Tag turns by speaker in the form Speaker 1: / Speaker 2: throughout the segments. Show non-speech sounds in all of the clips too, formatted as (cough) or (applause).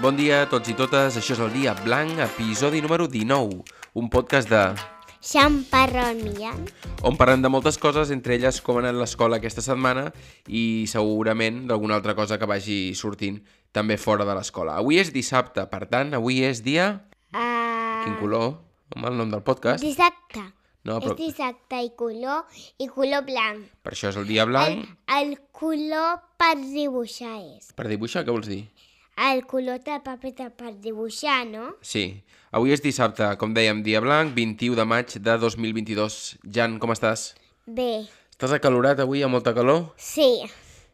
Speaker 1: Bon dia a tots i totes, això és el Dia Blanc, episodi número 19, un podcast de...
Speaker 2: Xamparrón Millán.
Speaker 1: on parlem de moltes coses, entre elles com ha anat l'escola aquesta setmana i segurament d'alguna altra cosa que vagi sortint també fora de l'escola. Avui és dissabte, per tant, avui és dia...
Speaker 2: Uh,
Speaker 1: Quin color? Amb el nom del podcast?
Speaker 2: dissabte.
Speaker 1: No,
Speaker 2: És
Speaker 1: però
Speaker 2: dissabte i color, i color blanc.
Speaker 1: per això és el Dia Blanc.
Speaker 2: El, el color per dibuixar és.
Speaker 1: Per dibuixar, què vols dir?
Speaker 2: El color de paper de per dibuixar, no?
Speaker 1: Sí. Avui és dissabte, com dèiem, dia blanc, 21 de maig de 2022. Jan, com estàs?
Speaker 2: Bé,
Speaker 1: Estàs acalorat avui, amb molta calor?
Speaker 2: sí.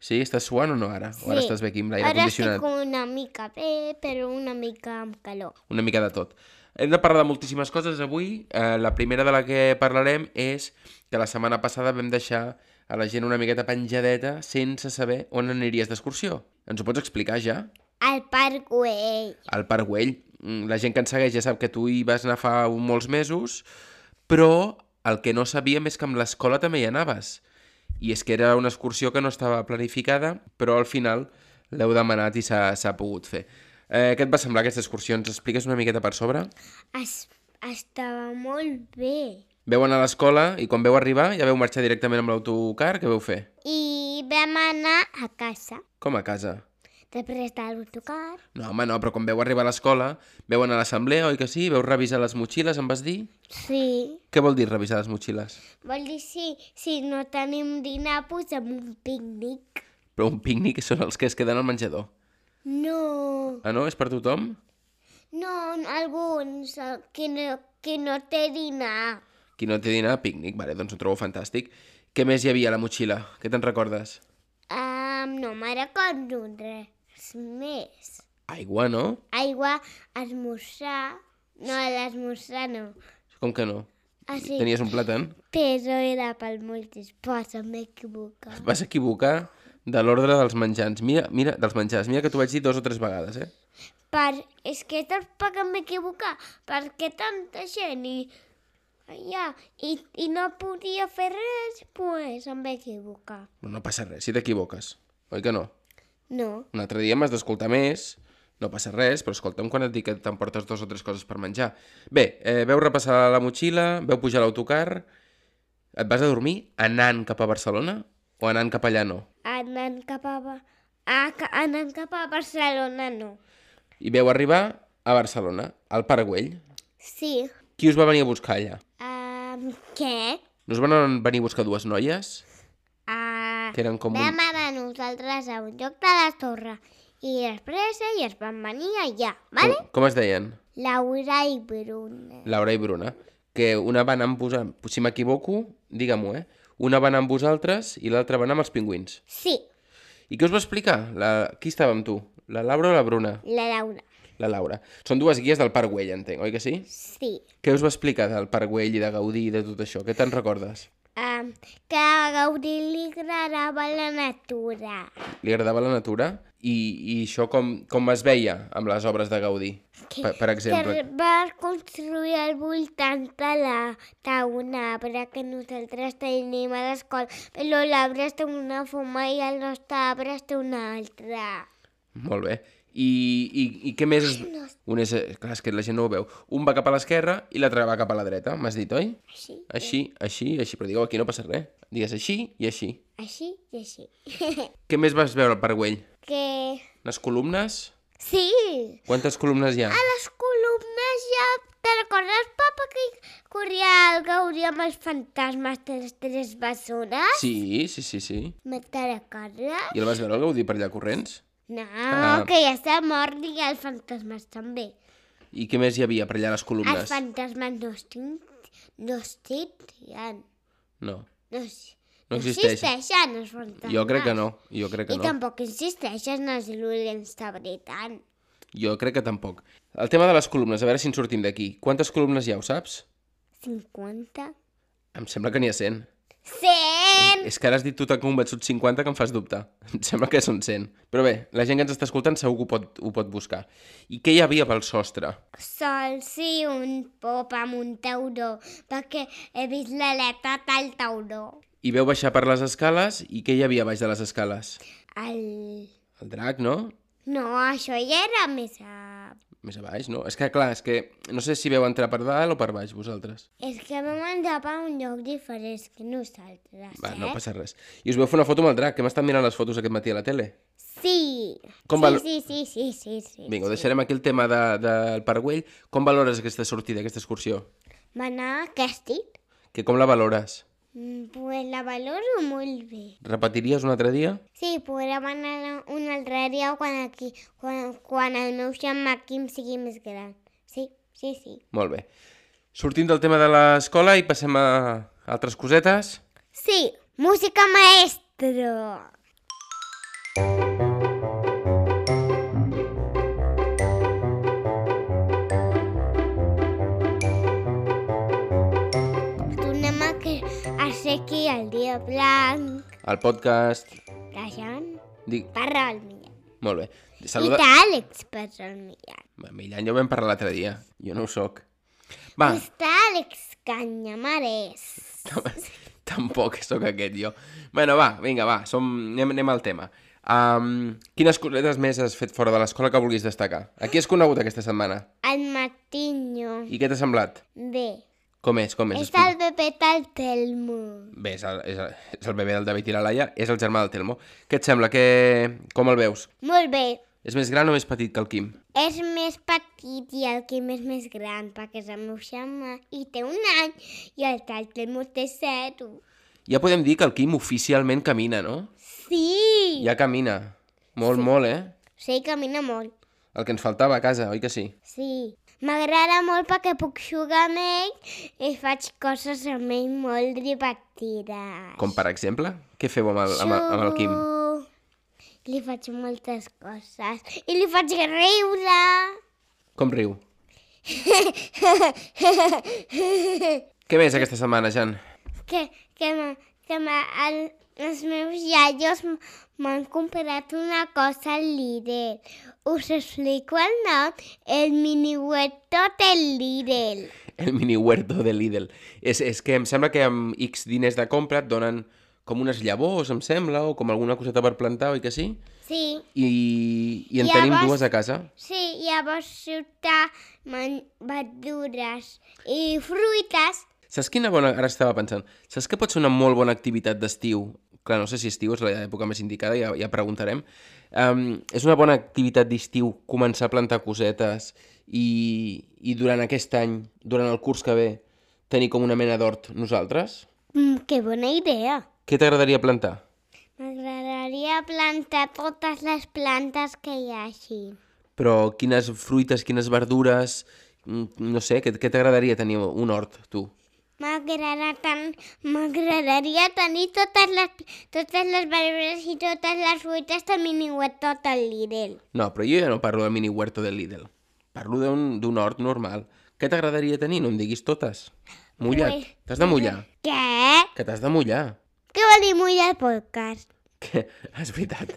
Speaker 1: Sí? Estàs suant o no ara? O ara
Speaker 2: sí.
Speaker 1: estàs bé aquí amb l'aire
Speaker 2: Ara estic
Speaker 1: condicionat?
Speaker 2: una mica bé, però una mica amb calor.
Speaker 1: Una mica de tot. Hem de parlar de moltíssimes coses avui. Eh, la primera de la que parlarem és que la setmana passada vam deixar a la gent una miqueta penjadeta sense saber on aniries d'excursió. Ens ho pots explicar ja?
Speaker 2: Al Parc Güell.
Speaker 1: al Parc Güell. Mm, La gent que ens segueix ja sap que tu hi vas anar fa un- molts mesos, però el que no sabíem és que amb l'escola també hi anaves. I és que era una excursió que no estava planificada, però al final l'heu demanat i s'ha s'ha pogut fer. Eh, què et va semblar aquesta excursió? Ens expliques una miqueta per sobre?
Speaker 2: Es, estava molt bé.
Speaker 1: Veu anar a l'escola i quan veu arribar ja veu marxar directament amb l'autocar, què veu fer?
Speaker 2: I vam anar a casa,
Speaker 1: Com a casa?
Speaker 2: després de l'autocar.
Speaker 1: No, home, no, però quan veu arribar a l'escola, veu anar a l'assemblea, oi que sí? Veu revisar les motxilles, em vas dir?
Speaker 2: Sí.
Speaker 1: Què vol dir revisar les motxilles?
Speaker 2: Vol dir si, si no tenim dinar, posem un pícnic.
Speaker 1: Però un pícnic són els que es queden al menjador.
Speaker 2: No,
Speaker 1: Ah, no? És per tothom?
Speaker 2: no, alguns, eh, que no, que no té dinar.
Speaker 1: Qui no té dinar, pícnic. Vale, doncs ho trobo fantàstic. Què més hi havia a la motxilla? Què te'n recordes?
Speaker 2: Um, no me'n recordo res més.
Speaker 1: Aigua, no?
Speaker 2: Aigua, esmorzar, no, a l'esmorzar no.
Speaker 1: Com que no?
Speaker 2: Ah, sí,
Speaker 1: Tenies un plàtan?
Speaker 2: però era pel multisport, m'he equivocat.
Speaker 1: Et vas equivocar de l'ordre dels menjants. Mira, mira, dels menjars. Mira que t'ho vaig dir dos o tres vegades, eh?
Speaker 2: Per, és que tampoc em vaig equivocar, perquè tanta gent i, ja, i, i no podia fer res, pues em vaig equivocar.
Speaker 1: No, no passa res, si t'equivoques. Oi que no?
Speaker 2: No,
Speaker 1: Un altre dia m'has d'escoltar més, no passa res, però escolta'm quan et dic que t'emportes dues o tres coses per menjar. Bé, eh, veu repassar la motxilla, veu pujar a l'autocar, et vas a dormir anant cap a Barcelona o anant cap allà no?
Speaker 2: anant cap a, Ba- a, ca- anant cap a Barcelona no.
Speaker 1: I veu arribar a Barcelona, al Paragüell.
Speaker 2: Sí.
Speaker 1: Qui us va venir a buscar allà?
Speaker 2: Um, què?
Speaker 1: No us van venir a buscar dues noies?
Speaker 2: Uh,
Speaker 1: Que eren com un...
Speaker 2: vam anar nosaltres a un lloc de la torre i després elles van venir allà, vale?
Speaker 1: Com, com es deien?
Speaker 2: Laura i Bruna.
Speaker 1: Laura i Bruna. Que una va anar amb vosaltres... Si m'equivoco, digue-m'ho, eh? Una va anar amb vosaltres i l'altra va anar amb els pingüins.
Speaker 2: Sí,
Speaker 1: I què us va explicar? La... Qui estava amb tu? La Laura o la Bruna?
Speaker 2: la Laura.
Speaker 1: La Laura. Són dues guies del Parc Güell, entenc, oi que sí?
Speaker 2: Sí.
Speaker 1: Què us va explicar del Parc Güell i de Gaudí i de tot això? Què te'n recordes?
Speaker 2: Um, que a Gaudí li agradava la natura.
Speaker 1: Li agradava la natura? I, i això com, com es veia amb les obres de Gaudí, per, per exemple?
Speaker 2: Que va construir al voltant de la d'un arbre que nosaltres tenim a l'escola, però l'arbre té una forma i el nostre arbre té una altra.
Speaker 1: Molt bé. I, i, i què més? Es... Un és... Clar, és que la gent no ho veu. Un va cap a l'esquerra i l'altre va cap a la dreta, m'has dit, oi?
Speaker 2: Així,
Speaker 1: Així, així, així. Però digueu, aquí no passa res. Digues així i així.
Speaker 2: així i així. (laughs)
Speaker 1: Què més vas veure al Parc Güell?
Speaker 2: que...
Speaker 1: Les columnes?
Speaker 2: Sí!
Speaker 1: Quantes columnes hi ha?
Speaker 2: A les columnes ja... Te'n recordes, papa, que corria el Gaudí amb els fantasmes de les tres bessones?
Speaker 1: Sí, sí, sí, sí.
Speaker 2: Me te'n recordes?
Speaker 1: I el vas veure el Gaudí per allà corrents?
Speaker 2: No,
Speaker 1: Ah.
Speaker 2: que ja està mort i els fantasmes també.
Speaker 1: I què més hi havia per allà a les
Speaker 2: Els
Speaker 1: columnes?
Speaker 2: fantasmes no estin... no existien.
Speaker 1: No,
Speaker 2: No, es-
Speaker 1: No
Speaker 2: no
Speaker 1: existeixen.
Speaker 2: existeixen els fantasmes.
Speaker 1: jo crec que no, jo crec que
Speaker 2: I
Speaker 1: no.
Speaker 2: tampoc existeixen els dolents de veritat.
Speaker 1: Jo crec que tampoc. El tema de les columnes, a veure si en sortim d'aquí. Quantes columnes hi ha, ho saps?
Speaker 2: 50?
Speaker 1: Em sembla que n'hi ha 100.
Speaker 2: 100!
Speaker 1: És que ara has dit tu tan convençut 50 que em fas dubtar. Em sembla que són 100. Però bé, la gent que ens està escoltant segur que ho pot, ho pot buscar. I què hi havia pel sostre?
Speaker 2: Sol, sí, un pop amb un tauró, perquè he vist l'aleta del tauró.
Speaker 1: I veu baixar per les escales i què hi havia baix de les escales?
Speaker 2: El...
Speaker 1: El drac, no?
Speaker 2: No, això ja era més a...
Speaker 1: Més a baix, no? És que, clar, és que no sé si veu entrar per dalt o per baix, vosaltres.
Speaker 2: És que vam entrar per un lloc diferent que nosaltres,
Speaker 1: Va,
Speaker 2: eh?
Speaker 1: no passa res. I us veu fer una foto amb el drac, que hem estat mirant les fotos aquest matí a la tele.
Speaker 2: Sí.
Speaker 1: Com
Speaker 2: sí,
Speaker 1: val-
Speaker 2: sí, sí, sí, sí, Eh, sí.
Speaker 1: Vinga, ho deixarem aquí el tema de, del Paragüell. Com valores aquesta sortida, aquesta excursió?
Speaker 2: Va anar a càstig.
Speaker 1: Que com la valores?
Speaker 2: Mm, Pues la valoro molt bé.
Speaker 1: Repetiries un altre dia?
Speaker 2: Sí, podrem anar un altre dia quan, aquí, quan, quan el meu germà Quim sigui més gran. Sí, sí, sí.
Speaker 1: Molt bé. Sortim del tema de l'escola i passem a altres cosetes.
Speaker 2: Sí, música maestro. Tornem a, que, a ser aquí el dia blanc,
Speaker 1: El podcast...
Speaker 2: Cajan,
Speaker 1: Dic...
Speaker 2: parra el Millán.
Speaker 1: Molt bé.
Speaker 2: I
Speaker 1: Saluda...
Speaker 2: d'Àlex parra el Millán.
Speaker 1: Va, Millan, ja ho vam parlar l'altre dia. Jo no ho soc. Va,
Speaker 2: Està Àlex Canyamares.
Speaker 1: (laughs) tampoc sóc aquest jo. Bueno, va, vinga, va, som... anem, anem al tema. Um, quines cosetes més has fet fora de l'escola que vulguis destacar? A qui has conegut aquesta setmana?
Speaker 2: El Martinho.
Speaker 1: I què t'ha semblat?
Speaker 2: Bé.
Speaker 1: Com és, com és?
Speaker 2: És el bebè del Telmo.
Speaker 1: Bé, és el, és, el, és el bebè del David i la Laia, és el germà del Telmo. Què et sembla? Que... Com el veus?
Speaker 2: Molt bé.
Speaker 1: És més gran o més petit que el Quim?
Speaker 2: És més petit i el Quim és més gran perquè és el meu germà i té un any i el del Telmo té zero.
Speaker 1: Ja podem dir que el Quim oficialment camina, no?
Speaker 2: Sí!
Speaker 1: Ja camina. Molt, molt, eh?
Speaker 2: Sí, camina molt.
Speaker 1: El que ens faltava a casa, oi que sí?
Speaker 2: Sí. M'agrada molt perquè puc jugar amb ell i faig coses amb ell molt divertides.
Speaker 1: Com per exemple? Què feu amb el, amb, el- amb el Quim?
Speaker 2: Xulo. Li faig moltes coses i li faig riure.
Speaker 1: Com riu? Què més aquesta setmana, Jan?
Speaker 2: que, que, me, que me, el, els meus iaios m- m'han comprat una cosa al Lidl. Us explico el nom, el minihuerto del Lidl.
Speaker 1: El mini huerto de Lidl. És, és que em sembla que amb X diners de compra et donen com unes llavors, em sembla, o com alguna coseta per plantar, oi que sí?
Speaker 2: Sí,
Speaker 1: I, i en
Speaker 2: Llavors-
Speaker 1: tenim dues a casa.
Speaker 2: sí, llavors ciutar man, verdures i fruites.
Speaker 1: Saps quina bona... Ara estava pensant. Saps que pot ser una molt bona activitat d'estiu? Clar, no sé si estiu és l'època més indicada, ja, ja preguntarem. Um, és una bona activitat d'estiu començar a plantar cosetes i, i durant aquest any, durant el curs que ve, tenir com una mena d'hort nosaltres?
Speaker 2: Mm, que bona idea!
Speaker 1: Què t'agradaria plantar?
Speaker 2: M'agradaria plantar totes les plantes que hi hagi.
Speaker 1: Però quines fruites, quines verdures... mm, No sé, què, què t'agradaria tenir un hort, tu?
Speaker 2: M'agrada tant, m'agradaria tenir totes les, totes les verdures i totes les fruites de miniuet tot el Lidl.
Speaker 1: No, però jo ja no parlo del mini huerto del Lidl. Parlo d'un d'un hort normal. Què t'agradaria tenir? No em diguis totes. Mullat.
Speaker 2: Pues-
Speaker 1: T'has de mullar.
Speaker 2: Què?
Speaker 1: Que t'has de mullar.
Speaker 2: Què vol dir mullar el podcast?
Speaker 1: Que, és veritat.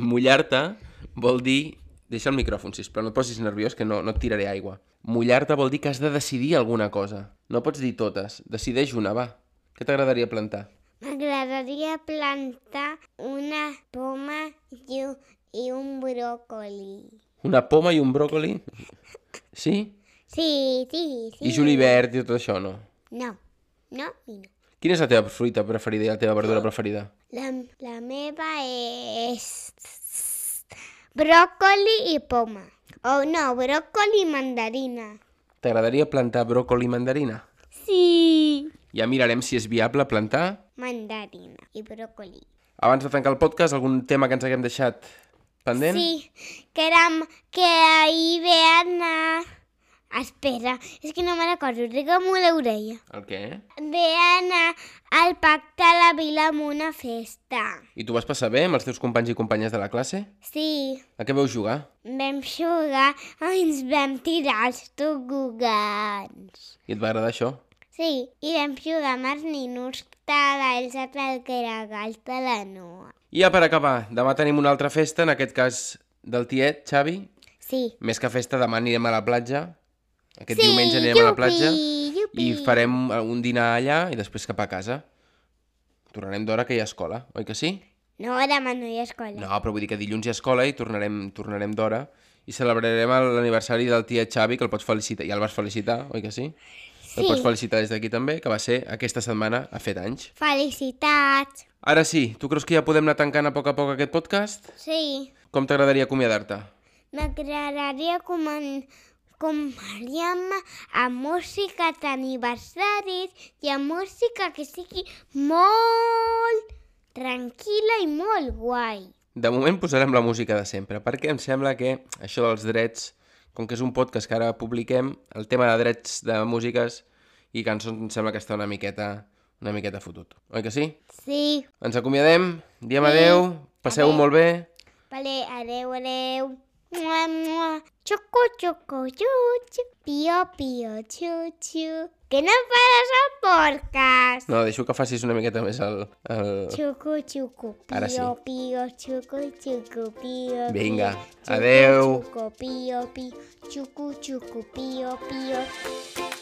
Speaker 1: Mullar-te vol dir... Deixa el micròfon, sisplau, no et posis nerviós, que no, no et tiraré aigua. Mullar-te vol dir que has de decidir alguna cosa. No pots dir totes. Decideix una, va. Què t'agradaria plantar?
Speaker 2: M'agradaria plantar una poma i un, i un bròcoli.
Speaker 1: Una poma i un bròcoli? Sí?
Speaker 2: Sí, sí, sí.
Speaker 1: I julivert i tot això, no?
Speaker 2: No, no i no.
Speaker 1: Quina és la teva fruita preferida i la teva verdura preferida?
Speaker 2: La, la meva és bròcoli i poma. Oh, no, bròcoli i mandarina.
Speaker 1: T'agradaria plantar bròcoli i mandarina?
Speaker 2: Sí.
Speaker 1: Ja mirarem si és viable plantar.
Speaker 2: Mandarina i bròcoli.
Speaker 1: Abans de tancar el podcast, algun tema que ens haguem deixat pendent?
Speaker 2: Sí, que era m- que ahir ve anar... ah, Espera, és que no me recordo, triga'm una orella.
Speaker 1: El què?
Speaker 2: Ve anar al pacte a la vila amb una festa.
Speaker 1: I tu vas passar bé amb els teus companys i companyes de la classe?
Speaker 2: Sí,
Speaker 1: A què veu jugar?
Speaker 2: vam jugar, ah, ens vam tirar els tobogans.
Speaker 1: I et va agradar això?
Speaker 2: Sí, i vam jugar amb els ninos de l'Elsa Pelqueragal de la Noa.
Speaker 1: I ja per acabar, demà tenim una altra festa, en aquest cas del tiet, Xavi.
Speaker 2: Sí.
Speaker 1: Més que festa, demà anirem a la platja. Aquest diumenge anirem a la platja.
Speaker 2: Yupi, yupi.
Speaker 1: I farem un dinar allà i després cap a casa. Tornarem d'hora que hi ha escola, oi que sí?
Speaker 2: No, demà no hi ha escola.
Speaker 1: No, però vull dir que dilluns hi ha escola i tornarem, tornarem d'hora i celebrarem el- l'aniversari del tia Xavi, que el pots felicitar. Ja el vas felicitar, oi que sí? El
Speaker 2: Sí.
Speaker 1: pots felicitar des d'aquí també, que va ser aquesta setmana, ha fet anys.
Speaker 2: Felicitats.
Speaker 1: Ara sí, tu creus que ja podem anar tancant a poc a poc aquest podcast?
Speaker 2: Sí.
Speaker 1: Com t'agradaria acomiadar-te?
Speaker 2: M'agradaria comen- començar-me amb música d'aniversaris i amb música que sigui molt tranquil·la i molt guai.
Speaker 1: De moment posarem la música de sempre, perquè em sembla que això dels drets, com que és un podcast que ara publiquem, el tema de drets de músiques i cançons em sembla que està una miqueta, una miqueta fotut. Oi que sí?
Speaker 2: Sí.
Speaker 1: Ens acomiadem, diem adeu, passeu-ho molt bé.
Speaker 2: Vale, adeu, adeu. Mua, mua. Xoco, xoco, xuxu. Pio, pio, xuxu. Que no pares el podcast.
Speaker 1: No, deixo que facis una miqueta més el... el...
Speaker 2: Xucu, xucu, pio,
Speaker 1: Ara sí.
Speaker 2: pio, xucu, xucu, pio,
Speaker 1: Vinga,
Speaker 2: pio, xucu,
Speaker 1: adeu.
Speaker 2: Xucu, pio, pio, xucu, xucu, pio, pio.